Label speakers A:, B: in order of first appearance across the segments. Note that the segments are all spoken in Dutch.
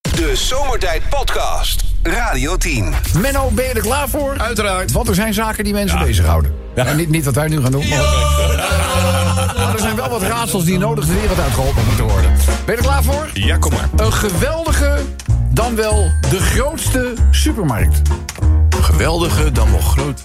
A: De Zomertijd Podcast. Radio 10.
B: Menno, ben je er klaar voor?
C: Uiteraard.
B: Want er zijn zaken die mensen bezighouden. En niet, niet wat wij nu gaan doen. Maar, maar er zijn wel wat raadsels die nodig de wereld uitgeholpen moeten worden. Ben je er klaar voor?
C: Ja, kom maar.
B: Een geweldige, dan wel de grootste supermarkt.
C: Geweldige, dan wel groot.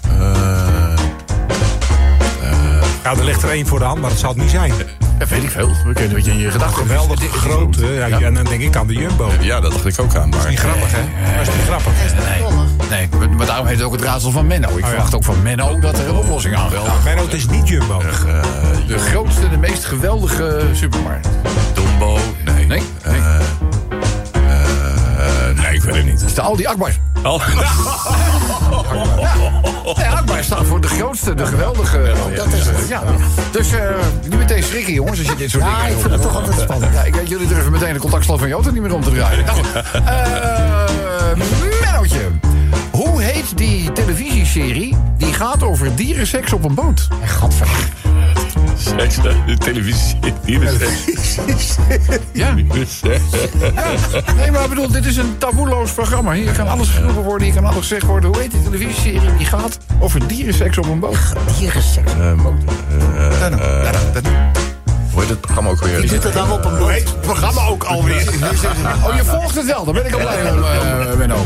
D: Ja, er ligt er één voor de hand, maar dat zal het niet zijn.
B: Dat weet ik veel. We kunnen wat je in je gedachten
D: Geweldig groot. hè. Ja, En dan denk ik aan de Jumbo. Dat
C: Ja, dat dacht ik ook aan. Maar...
D: is niet grappig, hè? Dat is niet grappig.
B: Nee, maar daarom heet het ook het raadsel van
C: Oh
B: Menno. Ik verwacht ook van Menno dat er een oplossing aan wel.
D: Menno, het is niet Jumbo.
B: De grootste, de meest geweldige supermarkt.
C: Dombo. Nee.
B: Nee? Nee.
C: Eh, nee, ik weet het niet.
B: Is de Aldi Akbar.
C: Oh.
B: Nee, Akbar staat voor de grootste, de geweldige. dat is het. Ja. Dus eh, nu meteen schrikken, jongens, als je dit soort dingen
E: ik vind het toch altijd spannend.
B: Ja, ik weet, jullie durven meteen de contactslag van Jota niet meer om te draaien. Nou, goed. Eh, Mennootje. Hoe heet die televisieserie die gaat over dierenseks op een boot?
E: Gadver.
C: Seks, de televisie. Hier is seks.
B: Ja. Nee, maar ik bedoel, dit is een taboeloos programma. Hier kan alles geroepen worden, hier kan alles gezegd worden. Hoe heet die televisieserie die gaat over dierenseks op een boot?
E: Dierenseks.
C: Hoe heet het programma ook
E: Ik
C: weer?
E: zit er dan op een boot.
D: Het programma ook alweer.
B: Oh, je volgt het wel. Daar ben ik al blij om, eh Menno.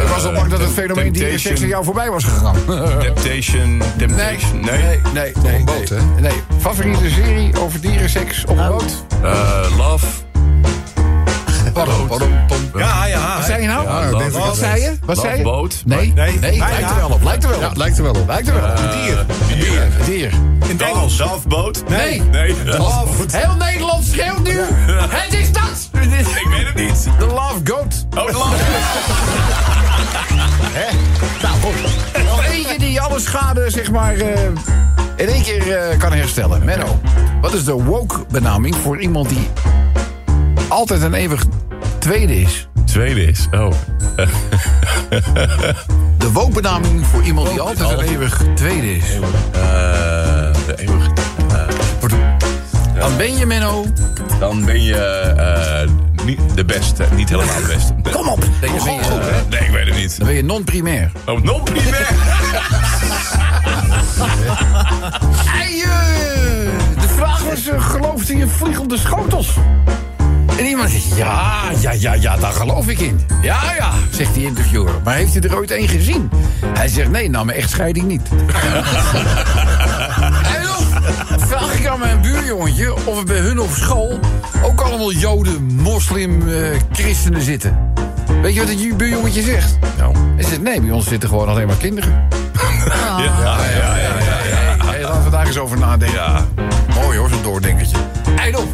B: Ik was al bang dat het fenomeen dierenseks aan jou voorbij was gegaan.
C: Temptation. Temptation. Nee.
B: nee, nee.
D: een boot,
B: nee.
D: hè?
B: Nee, favoriete serie over dierenseks op een
E: Nou,
B: boot?
C: Eh, love.
B: Pardon, pardon, pardon.
D: Ja, ja.
B: Wat zei je nou?
C: Ja, love.
B: Wat zei je? Wat zei je?
C: Boot.
B: Nee, nee,
D: Nee. Ja,
B: lijkt er
D: ja.
B: wel op. Lijkt er wel op.
F: Lijkt er wel op.
B: Lijkt er wel op.
D: Dier.
C: Bier.
B: Dier.
D: In
C: Oh.
D: het Engels.
C: Boot.
B: Nee.
C: Nee.
B: Love. Heel Nederland schreeuwt nu. Het is dat.
C: Ik weet het niet.
B: De Love Goat.
C: Oh, love.
B: Nou, goed. Nog eentje die alle schade, zeg maar, eh, in één keer eh, kan herstellen. Menno, wat is de woke-benaming voor iemand die altijd en eeuwig tweede is?
C: Tweede is. Oh.
B: De woke-benaming voor iemand die altijd en eeuwig tweede is.
C: Eh, de eeuwige.
B: Dan ben je, Menno,
C: Dan ben je eh, niet de beste. Niet helemaal de beste. eh, Kom op.
B: dan ben je,
C: Nee, ik weet het niet.
B: dan ben je non-primair.
C: Oh, nog niet meer.
B: Eien! De vraag was, eh, gelooft hij in vliegende schotels? En iemand zegt, ja, ja, ja, ja, daar geloof ik in. Ja, ja, zegt die interviewer. Maar heeft u er ooit één gezien? Hij zegt, nee, nou, mijn echtscheiding niet. en dan vraag ik aan mijn buurjongetje of er bij hun op school... ook allemaal joden, moslim, eh, christenen zitten. Weet je wat het buurjongetje zegt?
C: Nou.
B: Hij zegt, nee, bij ons zitten gewoon alleen maar kinderen.
C: Ja, ja, ja.
B: Hey, laten we daar eens over nadenken.
C: Ja.
B: Mooi hoor, zo'n doordenkertje. Eidel,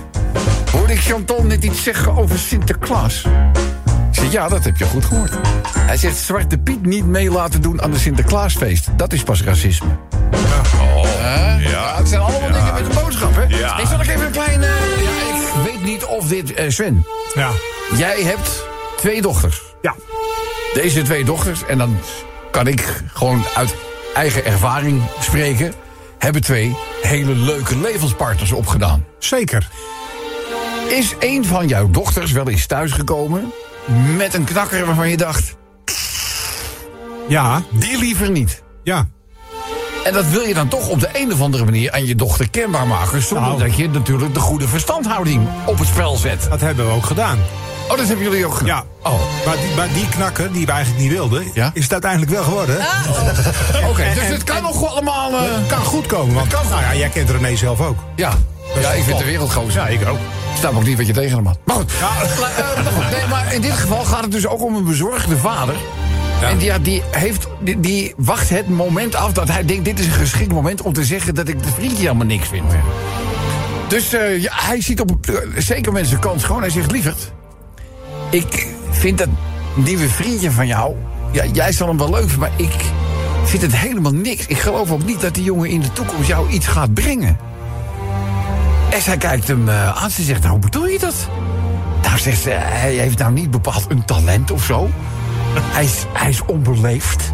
B: hoorde ik Chantal net iets zeggen over Sinterklaas? Ik zeg, ja, dat heb je goed gehoord. Hij zegt, Zwarte Piet niet mee laten doen aan de Sinterklaasfeest. Dat is pas racisme.
C: Oh, ja.
B: het zijn allemaal dingen met een boodschap, hè?
C: Ja.
B: Ik zal nog even een kleine... Ja, ik weet niet of dit... eh, Sven,
D: Ja.
B: jij hebt twee dochters.
D: Ja.
B: Deze twee dochters, en dan kan ik gewoon uit eigen ervaring spreken... hebben twee hele leuke levenspartners opgedaan.
D: Zeker.
B: Is een van jouw dochters wel eens thuisgekomen met een knakker waarvan je dacht,
D: Ja.
B: die liever niet?
D: Ja.
B: En dat wil je dan toch op de een of andere manier aan je dochter kenbaar maken, zonder
D: Nou.
B: dat je natuurlijk de goede verstandhouding op het spel zet.
D: Dat hebben we ook gedaan.
B: Oh, dat hebben jullie ook gedaan.
D: Ja.
B: Oh,
D: Maar die, maar die knakker, die we eigenlijk niet wilden,
B: Ja?
D: is het uiteindelijk wel geworden.
B: oké. Dus het kan nog wel allemaal. eh,
D: Kan goed komen, want nou ja, jij kent René zelf ook.
B: ja. Ja, ik vind de wereld gozer. Ja, ik ook. Ik snap ook niet wat je tegen hem had. Maar goed. La- eh, maar goed. Nee, maar in dit geval gaat het dus ook om een bezorgde vader. En die, ja, die, heeft, die, die wacht het moment af dat hij denkt... dit is een geschikt moment om te zeggen dat ik de vriendje helemaal niks vind. Dus eh, ja, hij ziet op eh, zeker mensen kans gewoon. Hij zegt, lieverd, ik vind dat nieuwe vriendje van jou... Ja, jij zal hem wel leuk vinden, maar ik vind het helemaal niks. Ik geloof ook niet dat die jongen in de toekomst jou iets gaat brengen. En zij kijkt hem eh, aan. Ze zegt, hoe bedoel je dat? Nou, zegt ze, hij heeft nou niet bepaald een talent of zo. Hij is, hij is onbeleefd.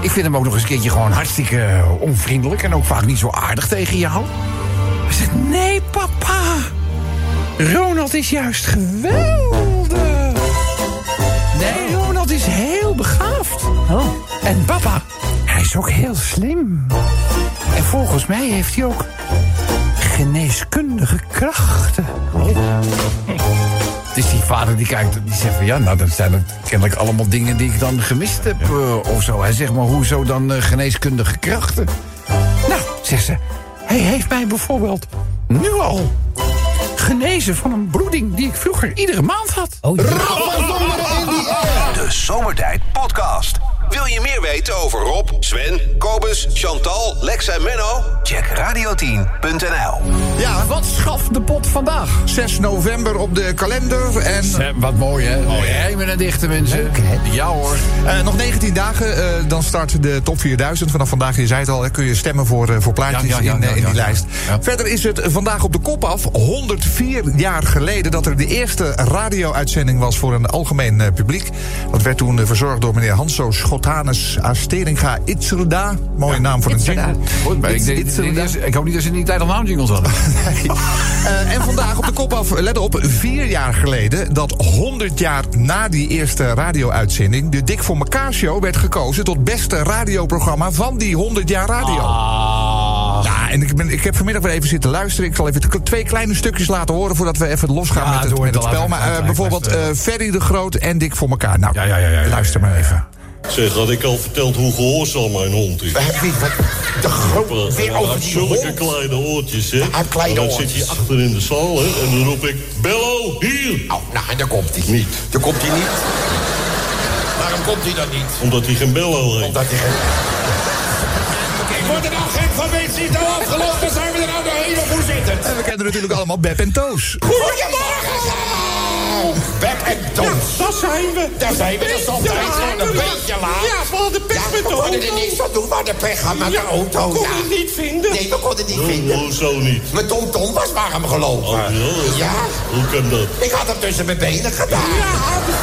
B: Ik vind hem ook nog eens een keertje gewoon hartstikke eh, onvriendelijk... en ook vaak niet zo aardig tegen jou. Hij zegt, nee, papa. Ronald is juist geweldig. is ook heel slim. En volgens mij heeft hij ook geneeskundige krachten. Dus die vader die kijkt, die zegt van ja, nou dat zijn het kennelijk allemaal dingen die ik dan gemist heb eh, of zo. Hij zegt maar hoezo dan eh, geneeskundige krachten? Nou, zegt ze, hij heeft mij bijvoorbeeld nu al genezen van een bloeding die ik vroeger iedere maand had.
E: Oh, ja.
A: De Zomertijd Podcast. Wil je meer weten over Rob, Sven, Kobus, Chantal, Lex en Menno? Check radio10.nl.
F: Ja,
B: Wat schaft de pot vandaag?
F: 6 november op de kalender. En
B: Hè, wat mooi, hè? Mooi, Rijmen en dichte mensen. Ja, hoor.
F: eh, nog 19 dagen, eh, dan start de top 4000. Vanaf vandaag, je zei het al, hè, kun je stemmen voor, eh, voor plaatjes
B: Ja, ja, ja,
F: in, eh,
B: ja,
F: in die
B: ja, ja.
F: lijst.
B: Ja.
F: Verder is het vandaag op de kop af, 104 jaar geleden... dat er de eerste radio-uitzending was voor een algemeen eh, publiek. Dat werd toen eh, verzorgd door meneer Hanso Schotanus Asteringa Itzerda. Mooie naam voor een
E: Itzerda.
F: jingle.
B: Goed, maar ik,
F: Itz-
B: denk-
F: Itzerda.
B: dit is- ik hoop niet dat ze in die tijd al naamjingles hadden.
F: Eh, en vandaag op de kop af, let op, vier jaar geleden... dat 100 jaar na die eerste radio-uitzending... de Dik voor elkaar show werd gekozen tot beste radioprogramma... van die 100 jaar radio.
B: Ah.
F: Ja, en ik, ben, ik heb vanmiddag weer even zitten luisteren. Ik zal even t- twee kleine stukjes laten horen... voordat we even losgaan
B: Ja,
F: met het,
B: doe het
F: met het
B: dan
F: spel. Maar
B: later.
F: eh,
B: Later,
F: bijvoorbeeld
B: luisteren.
F: eh, Ferry de Groot en Dik voor elkaar. Nou,
B: Ja, ja, ja, ja, ja,
F: luister maar even.
G: Zeg, had ik al verteld hoe gehoorzaam mijn hond is? eh,
H: De groot
G: Hij
H: weer over
G: heeft
H: die
G: zulke
H: hond.
G: kleine oortjes, hè?
H: heeft kleine
G: En dan
H: oortjes.
G: zit hij achter in de zaal, hè? En dan roep ik, Bello, hier!
H: Oh, nou, en daar komt hij.
G: Niet.
H: Daar komt hij niet. Waarom komt hij dan niet?
G: Omdat hij geen Bello heeft.
H: Omdat hij geen...
I: Wordt er nou gek van mensen? Is het nou afgelopen? Dan zijn we er nou doorheen of hoe zit het?
F: En we kennen natuurlijk allemaal Beb en Toos.
H: Goedemorgen! Beb en Toons.
I: Daar zijn we.
H: Daar zijn we, dat is altijd
I: laat,
H: gewoon een beetje laat.
I: Ja, we hadden pech
H: Ja,
I: met de
H: we konden er
I: auto.
H: niks aan doen, maar de pech gaat met de
I: we
H: auto.
I: konden
H: Ja.
I: het niet vinden.
H: Nee, we konden het niet vinden.
G: Hoezo niet?
H: Mijn tomtom was warm
G: Oh,
H: gelopen.
G: ja?
H: Ja,
G: Hoe kan dat?
H: ik had hem tussen mijn benen gedaan.
I: Ja, hadden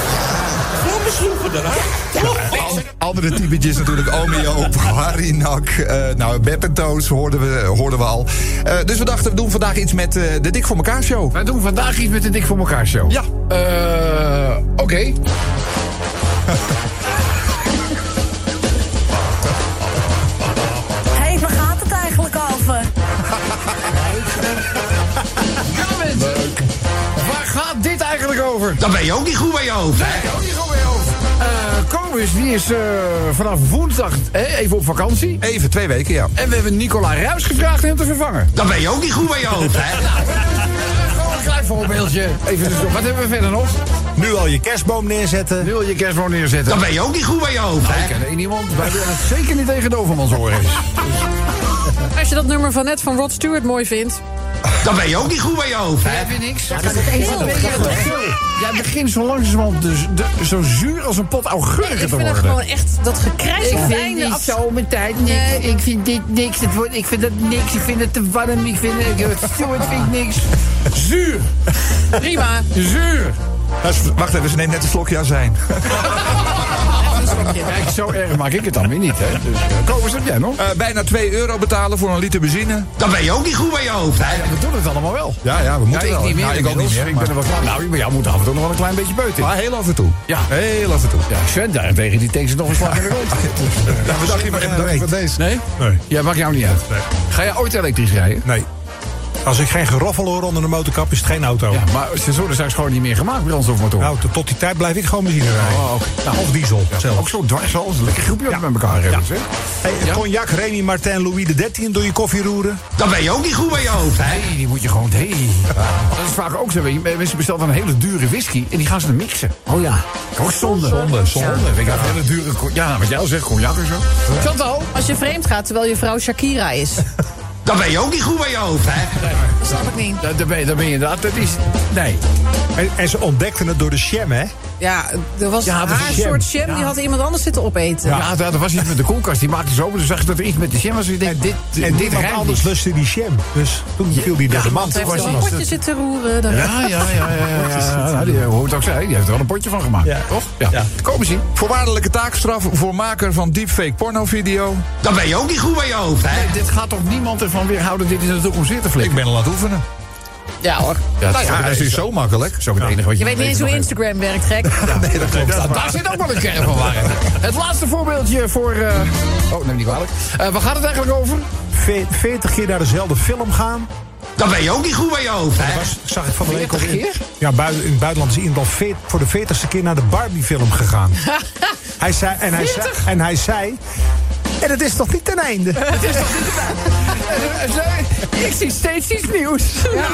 I: Vlammen sloegen eruit.
H: Ja,
F: Al- Andere typetjes natuurlijk. Omeo, Harinak, eh nou, Bep en Toos hoorden we, hoorden we al. Eh, dus we dachten, we doen vandaag iets met eh, de Dik voor elkaar show.
B: Wij doen vandaag iets met de Dik voor elkaar show.
F: Ja.
B: Eh, Oké.
J: Hé, hey, waar gaat het eigenlijk over?
B: Ja, mensen. Waar gaat dit eigenlijk over?
H: Dan ben je ook niet goed bij je hoofd.
B: Eh Kobus, die is eh, vanaf woensdag eh, even op vakantie.
F: Even, twee weken, ja.
B: En we hebben Nicola Ruijs gevraagd hem te vervangen.
H: Dan ben je ook niet goed bij je hoofd, hè?
B: Gewoon een klein voorbeeldje. Even dus Wat hebben we verder nog?
D: Nu al je kerstboom neerzetten.
B: Nu wil je kerstboom neerzetten.
H: Dan ben je ook niet goed bij je hoofd,
B: Ik
H: hè?
B: ken één iemand. Wij willen het zeker niet tegen Dovermans horen.
K: Als je dat nummer van net van Rod Stewart mooi vindt.
H: Dan ben je ook niet goed bij je hoofd, hè?
B: Jij vindt niks?
K: Heel lekker.
B: Jij begint zo langzamerhand dus de, zo zuur als een pot augurken
K: Ik
B: te
K: vind het
B: worden.
K: gewoon echt dat gekrijs op het einde. af-
J: zomertijd niks.
K: Nee.
J: Ik vind dit niks. Het wordt, ik vind dat niks. Ik vind het te warm. Ik vind het, het vind ik niks.
B: Zuur!
K: Prima.
B: Zuur!
F: Nou, s- wacht even, ze neemt net een slokje aan zijn.
B: Kijk, zo erg maak ik het dan weer niet, hè. Dus, eh, Kobus, heb jij nog?
F: Eh, bijna 2 euro betalen voor een liter benzine.
H: Dan ben je ook niet goed bij je hoofd, hè?
B: We doen het allemaal wel.
F: Ja, ja, we moeten
B: ik
F: wel.
B: niet meer.
F: Nou, ik ook niet meer.
B: Ik ben er wel klaar. Nou, maar jij moet af en toe nog wel een klein beetje beuten.
F: Maar heel af en toe.
B: Ja.
F: Heel af en toe.
B: Ja, Sven daarentegen, die tegen ze nog een slag in de rond.
F: Ja, we dachten,
D: Ja, dat weet.
F: deze.
B: Nee?
D: Nee.
B: Ja, maakt jou niet uit. Ga jij ooit elektrisch rijden?
D: Nee. Als ik geen geroffel hoor onder de motorkap, is het geen auto.
B: Ja, maar ze worden straks gewoon niet meer gemaakt, brandstofmotoren.
D: Nou, tot- tot die tijd blijf ik gewoon benzine rijden.
B: Oh, oké. Nou,
D: of diesel zelf.
B: Ook zo dwars als een lekker groepje met elkaar hebben. zeg.
D: Hey,
B: Ja?
D: Cognac, Remy, Martin, Louis XIII door je koffie roeren.
H: Dan ben je ook niet goed bij je hoofd, hè?
B: Nee, die moet je gewoon. Nee. Dat is vaak ook zo. weet je. Mensen bestellen dan een hele dure whisky en die gaan ze dan mixen.
E: Oh ja.
B: Ook zonde. Zonde, zonde. Weet je, dat hele dure. co- Ja, wat jij al zegt, cognac en zo. Chantal?
K: Als je vreemd gaat terwijl je vrouw Shakira is.
H: Dan ben je ook niet goed bij je hoofd, hè?
K: Dat snap ik niet.
B: Daar daar ben je, daar ben je inderdaad. Dat is. nou Nee.
D: En, en ze ontdekten het door de sham, hè?
K: Ja, er was
B: Ja, dat is
K: haar
B: jam.
K: soort jam. Die had iemand anders zitten opeten.
B: Ja, daar- er was iets met de koelkast. Die maakte ze open. Toen zag je dat er iets met de jam was. En je denkt, dit,
D: En
B: dit
D: dit
B: rijmt
D: anders
B: niet.
D: lustte die sham. Dus toen viel die door de
K: Iemand
D: mand.
K: heeft
D: Was
K: er een
D: die-
K: potje zitten roeren. daar-
B: Ja, ja, ja. ja, ja, ja. Nou, die, eh, hoe het ook zij, die heeft er wel een potje van gemaakt.
D: Ja.
B: Toch? Ja.
D: Ja.
B: Komen zien.
F: Voorwaardelijke taakstraf voor maker van deepfake pornovideo.
H: Dan ben je ook niet goed bij je hoofd, hè?
B: Dit gaat toch niemand ervan weerhouden dit in de toekomst weer te flikken?
F: Ik ben al aan het oefenen.
K: Ja hoor.
F: nou ja, dat is dus zo makkelijk.
B: Zo het enige wat
K: Je weet niet eens hoe Instagram werkt, gek.
F: Nee, dat klopt.
B: Nou, daar zit ook wel een kern van waarheid. Het laatste voorbeeldje voor... eh, Oh, neem niet kwalijk. Eh waar gaat het eigenlijk over?
D: Ve- 40 keer naar dezelfde film gaan.
B: Dan ben je ook niet goed bij je hoofd.
D: Dat was, zag ik van de week op
B: 40
D: in-
B: keer?
D: Ja, buiten, in het buitenland is iemand al veert- voor de 40ste keer naar de Barbie-film gegaan. hij zei, en, hij zei, en hij zei. En het is toch niet ten einde?
B: Eh,
J: Ik zie steeds iets nieuws.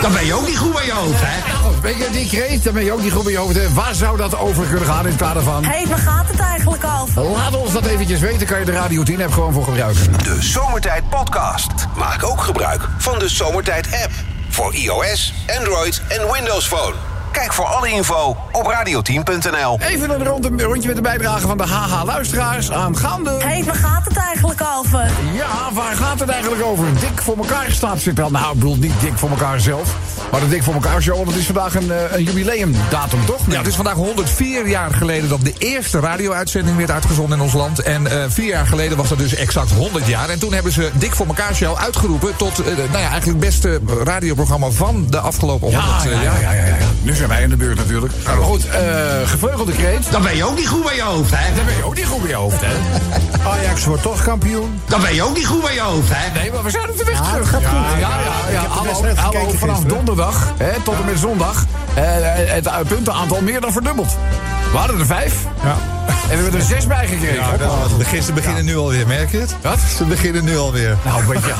B: Dan ben je ook niet goed bij je hoofd, hè? Ben nou, je die kreet, dan ben je ook niet goed bij je hoofd. hè? Waar zou dat over kunnen gaan in het kader van...
L: Hé, hey, waar gaat het eigenlijk over?
B: Laat ons dat eventjes weten, kan je de Radio 10 app gewoon voor gebruiken.
A: De Zomertijd Podcast. Maak ook gebruik van de Zomertijd app. Voor iOS, Android en Windows Phone. Kijk voor alle info op radio10.nl.
B: Even een rond- een rondje met de bijdrage van de HH-luisteraars aangaande...
L: Hé, hey, waar gaat het eigenlijk over?
B: Ja, waar gaat het eigenlijk over? Dik voor elkaar staat zit wel. Nou, ik bedoel niet dik voor elkaar zelf. Maar de dik voor elkaar show, want het is vandaag een, eh, een jubileumdatum, toch?
F: Ja, het is vandaag 104 jaar geleden dat de eerste radio-uitzending werd uitgezonden in ons land. En eh, vier jaar geleden was dat dus exact 100 jaar. En toen hebben ze Dik voor elkaar show uitgeroepen tot eh, de- nou ja, eigenlijk het beste radioprogramma van de afgelopen 100 eh, jaar.
B: ja, ja. Nu zijn wij in de beurt natuurlijk. Nou, goed, eh gevleugelde kreet. Dan ben je ook niet goed bij je hoofd, hè? Dan ben je ook niet goed bij je hoofd, hè?
D: Ajax wordt toch kampioen.
B: Dan ben je ook niet goed bij je hoofd, hè? Eh, Nee, maar we zijn op de weg terug.
D: gaat
B: Ja,
D: goed.
B: ja, ja. ja.
D: heb de
B: Hallo,
D: wedstrijd
B: hallo,
D: gekeken
B: vanaf
D: gisteren.
B: donderdag hè, tot en met zondag. eh, het eh, puntenaantal meer dan verdubbeld. We hadden er vijf.
D: Ja.
B: En we hebben er zes bij gekregen.
F: Gisteren beginnen nu alweer, merk je het?
B: Wat?
F: Ze beginnen nu alweer.
B: Nou, weet je,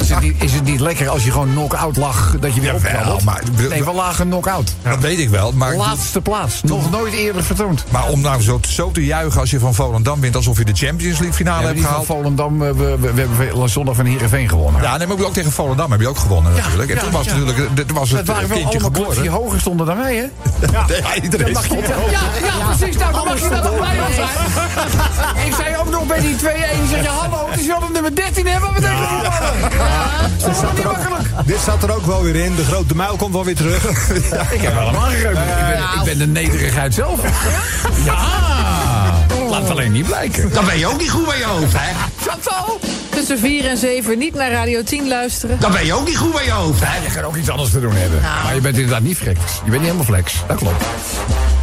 B: is het, niet, is het niet lekker als je gewoon knock-out lag dat je weer
F: Jawel,
B: opkrabbelt?
F: maar-
B: Nee, we lagen knock-out.
F: Dat weet ik wel, maar...
B: Laatste plaats. Nog nooit eerder vertoond.
F: Maar om nou zo, zo te juichen als je van Volendam wint... alsof je de Champions League finale
B: We hebben
F: hebt
B: die van
F: gehaald...
B: Volendam, eh, we, we, we hebben zondag van Heerenveen gewonnen.
F: Ja, nee, maar ook tegen Volendam heb je ook gewonnen natuurlijk. En
B: ja,
F: toen was,
B: ja.
F: natuurlijk, eh, toen was
B: Het
F: het,
B: waren
F: eh,
B: wel
F: kindje
B: allemaal
F: geboren.
B: clubs die hoger stonden dan wij, hè?
F: Ja, iedereen
B: Mag je ja, ja, precies. Nou, dan mag je dat ook blij om zijn. Ik zei ook nog bij die 2-1, zeg je, hallo, het is wel een nummer 13, hè? Wat betekent dat? Ja, dat is niet makkelijk.
D: Dit staat er ook wel weer in. De grote muil komt wel weer terug.
B: Ik heb wel hem aangegrepen. ik, ben, ik ben de nederigheid zelf. Ja! Laat het alleen niet blijken. Dan ben je ook niet goed bij je hoofd, hè? Chantal!
K: Tussen 4 en 7 niet naar Radio 10 luisteren.
B: Dan ben je ook niet goed bij je hoofd, hè? Je kan ook iets anders te doen hebben.
K: Nou.
B: Maar je bent inderdaad niet flex. Je bent niet helemaal flex. Dat klopt.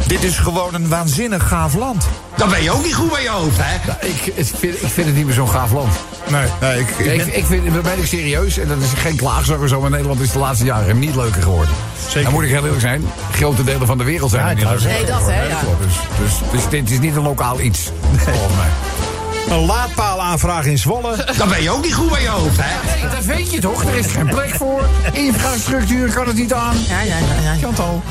F: Dit is gewoon een waanzinnig gaaf land.
B: Dan ben je ook niet goed bij je hoofd, hè? ik, ik, vind, ik vind het niet meer zo'n gaaf land.
F: Nee, nee ik, ik
B: Ik,
F: ben-
B: ik vind, daar ben ik serieus. En dat is geen klaagzak of zo. Maar Nederland is de laatste jaren niet leuker geworden. Zeker. Dan moet ik heel eerlijk zijn. Grote delen van de wereld zijn er niet leuker
K: Nee, dat,
B: geworden.
K: hè, ja.
B: klopt. Dus, dus, dus dit is niet een lokaal iets. Volgens mij.
D: Een laadpaal aanvraag in Zwolle.
B: Dan ben je ook niet goed bij je hoofd, hè? Nee, dat weet je toch? Er is geen plek voor. Infrastructuur kan het niet aan.
K: Ja, ja, ja. ja.
B: Chantal.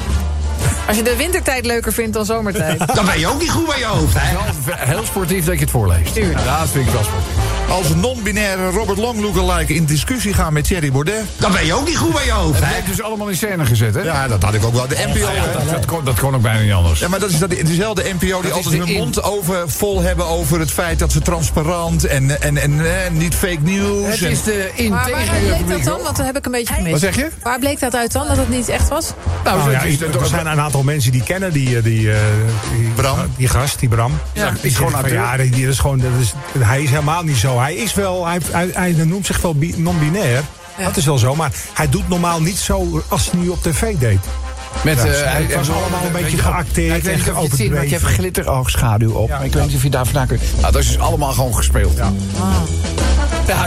K: Als je de wintertijd leuker vindt dan zomertijd.
B: Dan ben je ook niet goed bij je hoofd, hè? Heel sportief dat je het voorleest.
K: Tuurlijk.
B: Ja, dat vind ik wel sportief.
F: als non-binaire Robert Long lookalike in discussie gaan met Thierry Baudet.
B: Dan ben je ook niet goed bij je hoofd, hè? Dat heeft dus allemaal in scène gezet, hè?
F: Ja, dat had ik ook wel. De NPO.
B: Ja, Oh, dat, dat kon, dat kon ook bijna niet anders.
F: Ja, maar dat is dat, dezelfde NPO die
B: is
F: altijd
B: de
F: hun
B: in-
F: mond over vol hebben over het feit dat ze transparant en, en, en, eh, niet fake news.
B: Het is
F: en,
B: de
K: Maar waar
B: integere
K: bleek dat
B: publiek.
K: dan? Want dan heb ik een beetje gemist.
B: Wat zeg je?
K: Waar bleek dat uit dan, dat het niet echt was?
B: Nou,
D: Nou
B: zo-
D: ja,
B: het is-
D: er zijn een aantal mensen die kennen die, eh, die, eh, die
F: Bram.
D: Die gast, die Bram.
B: Ja,
D: Ik
B: die is
D: zeg
B: gewoon
D: van,
B: acteur.
D: ja, die, die is gewoon, dat is, hij is helemaal niet zo. Hij is wel, hij, hij, hij noemt zich wel bi- non-binair. Dat is wel zo, maar hij doet normaal niet zo als hij nu op tv deed.
B: Met, eh,
D: het
B: hij-
D: was
B: hij-
D: allemaal een
B: weet
D: beetje
B: je wel.
D: geacteerd
B: Ja, Ik weet
D: en
B: niet of je het ziet,
D: geopendreven.
B: want je hebt glitteroogschaduw op. ik weet niet of je daar vandaan kunt. Nou, dat is dus allemaal gewoon gespeeld. Ja,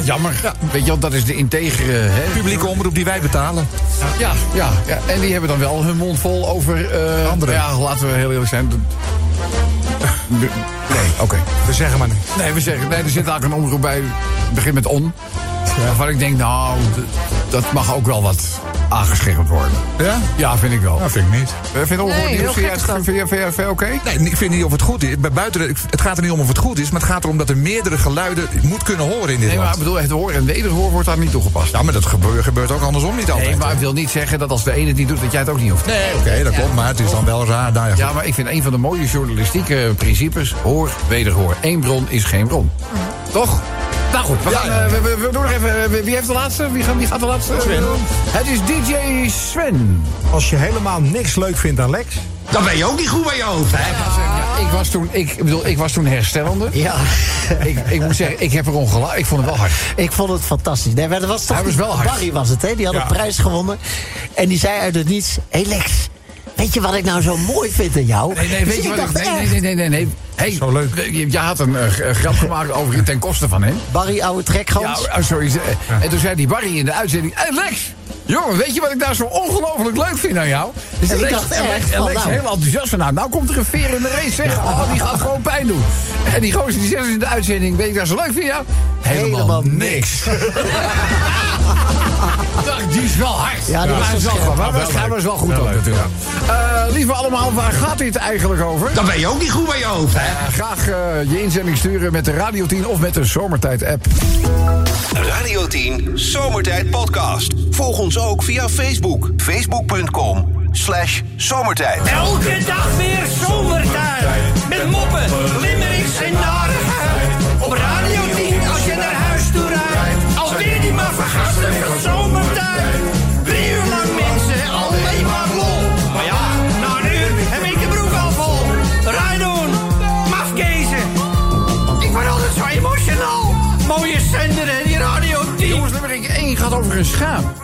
B: jammer. Weet je wel, dat is de integere... Hè?
F: publieke omroep die wij betalen.
B: Ja, ja, ja, en die hebben dan wel hun mond vol over... eh
F: Anderen.
B: Ja, laten we heel eerlijk zijn. dat- Nee, oké.
D: We zeggen maar niks.
B: Nee, we zeggen, nee, er zit eigenlijk een omroep bij. Het begint met on. Waarvan ik denk, nou, d- dat mag ook wel wat aangescherpt worden.
F: Ja?
B: Ja, vind ik wel.
F: Dat vind ik niet.
B: Eh, Vind je ongehoord
K: Nee,
B: nieuws?
K: heel
B: Vind je
K: gek
B: het-
K: is dat.
B: Vind je vind je- vind je oké?
F: Nee, ik vind niet of het goed is. Bij buiten, ik- het gaat er niet om of het goed is, maar het gaat erom dat er meerdere geluiden moet kunnen horen in dit
B: Nee, maar ik
F: land.
B: bedoel, het horen en wederhoor wordt daar niet Nou, toegepast.
F: Ja, maar dat gebeurt, gebeurt ook andersom niet altijd.
B: Nee, maar ik wil niet zeggen dat als de ene het niet doet, dat jij het ook niet hoeft.
F: Nee, oké, dat klopt, maar het is dan wel raar. Nou, ja,
B: Ja, maar ik vind een van de mooie journalistieke principes... hoor, wederhoor. Eén bron is geen bron.
K: Mhm.
B: Toch? Nou goed, we, gaan, eh, we, we- we doen nog even... eh, wie- Wie heeft de laatste? Wie gaat, wie gaat de laatste? Eh,
F: Sven.
B: Het is DJ Sven.
D: Als je helemaal niks leuk vindt aan Lex.
B: Dan ben je ook niet goed bij je hoofd, hè? ik was toen, ik, bedoel, ik was toen herstellende. Ja. ik, ik moet zeggen, ik heb er ongelachen. Ik vond het wel hard.
M: Ik vond het fantastisch. Nee, maar dat was toch
B: Hij was
M: die-
B: wel hard.
M: Barry was het, hè? Die had
B: Ja.
M: een prijs gewonnen. En die zei uit het niets... Hé Lex, weet je wat ik nou zo mooi vind aan jou?
B: Nee, nee,
M: Dus
B: weet je
M: ik
B: wat ik...
M: dacht
B: Nee,
M: echt,
B: nee, nee, nee, nee. nee. Hey, Zo leuk. Je, je had een eh, g- eh, grap gemaakt over ten koste van hem.
M: Barry, oude trekgans.
B: Ja, oh, sorry. ze- eh, En toen zei die Barry in de uitzending... Hey Lex, jongen, weet je wat ik daar zo ongelooflijk leuk vind aan jou? Dus
M: En ik
B: Lex,
M: dacht
B: en Lex,
M: echt
B: en
M: van,
B: Lex
M: nou.
B: helemaal enthousiast van... Nou, nou komt er een veer in de race, zeg. Oh, die gaat gewoon pijn doen. En die gozer die zegt dus in de uitzending... Weet ik daar zo leuk vind jou? Helemaal, niks. Dag, die is wel hard.
M: Ja, die
B: Maar
M: was
B: hij is wel
M: wel scherp.
B: goed. Maar
M: Wel
B: hij was wel goed ook natuurlijk. Eh, lieve allemaal, waar gaat dit eigenlijk over?
N: Dan ben je ook niet goed bij je hoofd, hè?
B: Eh, graag eh, je inzending sturen met de Radio 10 of met de Zomertijd-app.
A: Radio 10 Zomertijd Podcast. Volg ons ook via Facebook. Facebook.com slash zomertijd.
I: Elke dag weer zomertijd. Met moppen, limmerings en narigheid. Op Radio 10 als je naar huis toe rijdt. Alweer die maar vergastige zomertijd. Drie uur lang mensen, alleen maar lol. Maar ja, na een uur heb ik de broek al vol. Rijdoen, mafkezen. Ik word altijd zo emotional. Mooie zender en die Radio 10.
B: Jongens, nummer 1 gaat over een schaap.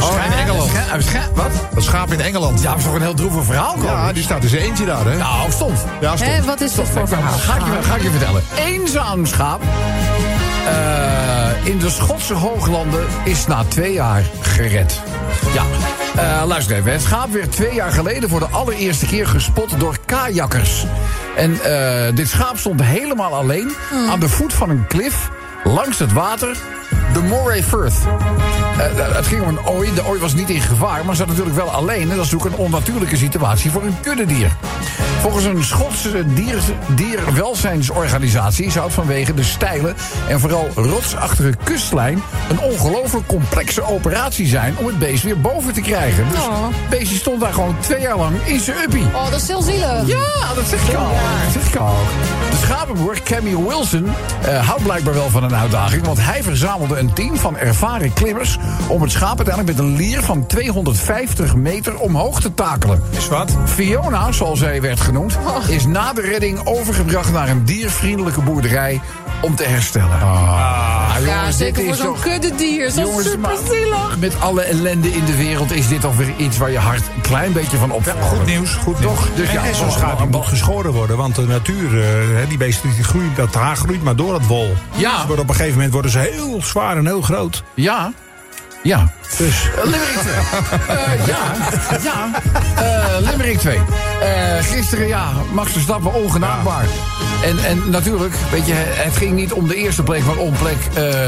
F: Schaap in Engeland.
B: Scha- scha- wat?
F: Dat schaap in Engeland.
B: Ja, dat is toch een heel droevig verhaal komen.
F: Ja, die staat in zijn eentje daar, hè?
B: Nou, stond.
F: Ja, stond.
K: Hè, wat is dat voor verhaal?
B: Ga ik, je, ga ik je vertellen. Eenzaam schaap. eh, in de Schotse hooglanden is na twee jaar gered. Ja, eh, luister even. Het schaap werd twee jaar geleden voor de allereerste keer gespot door kajakkers. En eh, dit schaap stond helemaal alleen aan de voet van een klif langs het water, de Moray Firth. Eh, het ging om een ooi. De ooi was niet in gevaar, maar zat natuurlijk wel alleen. En dat is natuurlijk een onnatuurlijke situatie voor een kuddedier. Volgens een Schotse dier, dierwelzijnsorganisatie zou het vanwege de steile en vooral rotsachtige kustlijn een ongelooflijk complexe operatie zijn om het beest weer boven te krijgen. Dus het beestje stond daar gewoon twee jaar lang in zijn uppie.
K: Oh, dat is heel zielig.
B: Ja, dat zeg ik al. Dat zeg ik al. De schapenboer Cammy Wilson eh, houdt blijkbaar wel van een uitdaging... want hij verzamelde een team van ervaren klimmers... om het schaap uiteindelijk met een lier van 250 meter omhoog te takelen. Is wat? Oh. Fiona, zoals zij werd genoemd... is na de redding overgebracht naar een diervriendelijke boerderij... om te herstellen. Ah,
K: Ja,
B: jongens,
K: zeker
B: dit
K: voor
B: is
K: zo'n
B: toch-
K: kuddedier. Dat is
B: Jongens,
K: super
B: maar-
K: zielig.
B: met alle ellende in de wereld is dit toch weer iets waar je hart een klein beetje van opvalt.
D: Goed nieuws, goed nieuws.
B: Toch? Dus
D: en,
B: ja,
D: en zo'n
B: wel-
D: schaap die moet geschoren worden, want de natuur, eh, hè, die beesten, die groeien, dat haar groeit maar door dat wol.
B: Ja.
D: Dus worden op een gegeven moment worden ze heel zwaar en heel groot.
B: Ja. Ja. Eh,
D: Dus.
B: Limerick 2. Eh, ja, ja. Eh, Limerick 2. Eh, gisteren, ja, Max Verstappen ongenaakbaar. En, en natuurlijk, weet je, het ging niet om de eerste plek, maar om plek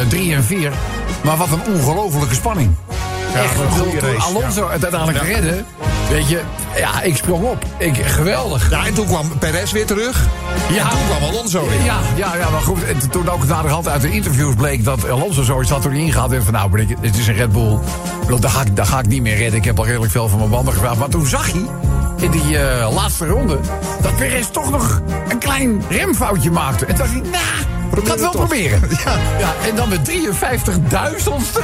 B: 3 en 4. Maar wat een ongelofelijke spanning.
D: Ja,
B: Echt,
D: wat een
B: ik
D: goede
B: bedoel, toen
D: race,
B: Alonso
D: ja.
B: het uiteindelijk
D: Ja.
B: redden. Weet je, ja, ik sprong op. Ik, geweldig.
F: Ja, en toen kwam Perez weer terug.
B: Ja.
F: En toen kwam Alonso weer.
B: Ja, ja, ja, maar goed, en toen ook naderhand uit de interviews bleek dat Alonso zoiets had toen hij ingehaald werd van nou, ben ik- het is een Red Bull. Ik bedoel, Daar ga, ik, daar ga ik niet meer redden. Ik heb al redelijk veel van mijn banden gevraagd. Maar toen zag hij in die eh, laatste ronde dat Perez toch nog een klein remfoutje maakte. En toen dacht hij, nou, ik kan het wel
F: het toch."
B: proberen. Ja. en dan met 53.000ste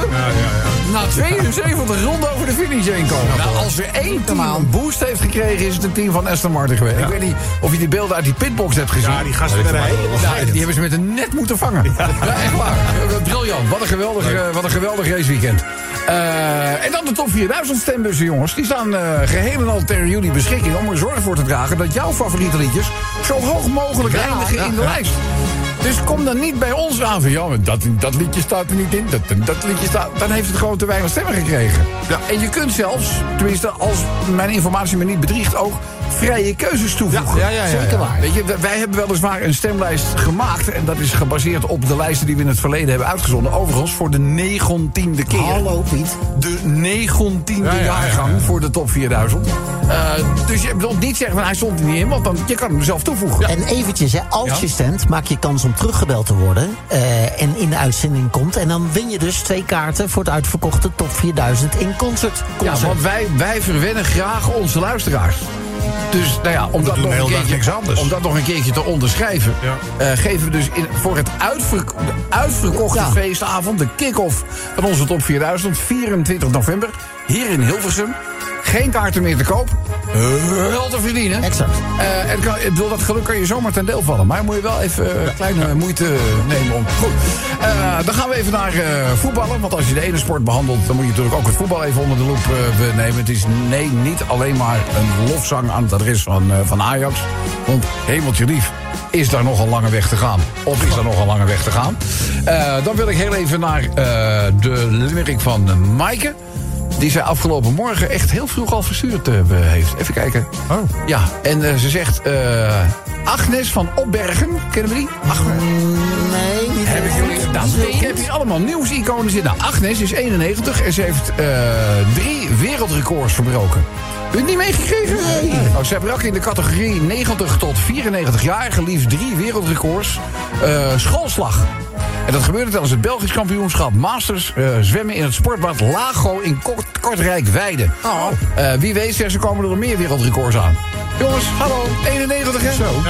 B: na 72 ronden over de finish heen komen. Nou, als er één team een boost heeft gekregen, is het een team van Aston Martin geweest. Ik weet niet of je die beelden uit die pitbox hebt gezien.
D: Ja, die gasten werden helemaal
B: Ja,
D: gek.
B: die hebben ze met een net moeten vangen. Ja, echt waar. Briljant. Wat een geweldig, eh, wat een geweldig raceweekend. Eh, en dan de top 4000 stembussen, jongens. Die staan eh, geheel en al ter jullie beschikking om er zorg voor te dragen dat jouw favoriete liedjes zo hoog mogelijk eindigen in de lijst. Dus kom dan niet bij ons aan van, ja, maar dat, dat liedje staat er niet in, dat, dat liedje staat... Dan heeft het gewoon te weinig stemmen gekregen. En je kunt zelfs, tenminste als mijn informatie me niet bedriegt... ook vrije keuzes toevoegen.
F: Ja, ja, ja, ja, ja.
B: Zeker waar. Weet je, w- wij hebben weliswaar een stemlijst gemaakt... en dat is gebaseerd op de lijsten die we in het verleden hebben uitgezonden. Overigens voor de negentiende keer.
M: Hallo Piet.
B: De negentiende
F: Ja, ja, ja, ja.
B: jaargang voor de top 4000. Eh, dus je bedoelt niet zeggen, van, hij stond er niet in... want dan, je kan hem zelf toevoegen.
M: En eventjes, hè, als
B: Ja.
M: je stemt, maak je kans om teruggebeld te worden. eh, en in de uitzending komt. En dan win je dus twee kaarten voor het uitverkochte Top 4000 in concert.
B: Ja,
M: concert.
B: want wij, wij verwennen graag onze luisteraars. Dus nou ja, om, dat
D: doen
B: nog,
D: de
B: een
D: hele dag
B: keertje,
D: niks anders.
B: om dat nog een keertje te onderschrijven... eh, geven we dus in, voor het uitverk- de uitverkochte
M: Ja.
B: feestavond... de kick-off van onze top 4000, 24 november... hier in Hilversum. Geen kaarten meer te koop. wel te verdienen. Exact. en kan, Eh, ik bedoel, dat geluk kan je zomaar ten deel vallen. Maar moet je wel even eh, kleine moeite nemen om. Goed. Eh, dan gaan we even naar eh, voetballen. Want als je de ene sport behandelt, dan moet je natuurlijk ook het voetbal even onder de loep eh, nemen. Het is nee, niet alleen maar een lofzang aan het adres van, eh, van Ajax. Want hemeltje lief. Is daar nog een lange weg te gaan? Of is daar nog een lange weg te gaan? Eh, dan wil ik heel even naar eh, de limerick van eh, Maaike. Die zij afgelopen morgen echt heel vroeg al verstuurd eh, heeft. Even kijken. Oh. Ja, en eh, ze zegt... eh, Agnes van Opbergen, kennen we die? Agnes. Nee, niet Hebben jullie gedaan? Ik heb hier allemaal nieuwsiconen zitten. Nou, Agnes is 91 en ze heeft eh, drie wereldrecords verbroken. Heb je het niet meegekregen? Nou, ze brak in de categorie 90 tot 94 jaar geliefd drie wereldrecords. Eh, schoolslag. En dat gebeurde tijdens het Belgisch kampioenschap Masters eh, zwemmen in het sportbad Lago in Kort Kortrijk-Weide. Eh, wie weet, zegt ze komen er meer wereldrecords aan. Jongens, hallo, 91 hè? Zo.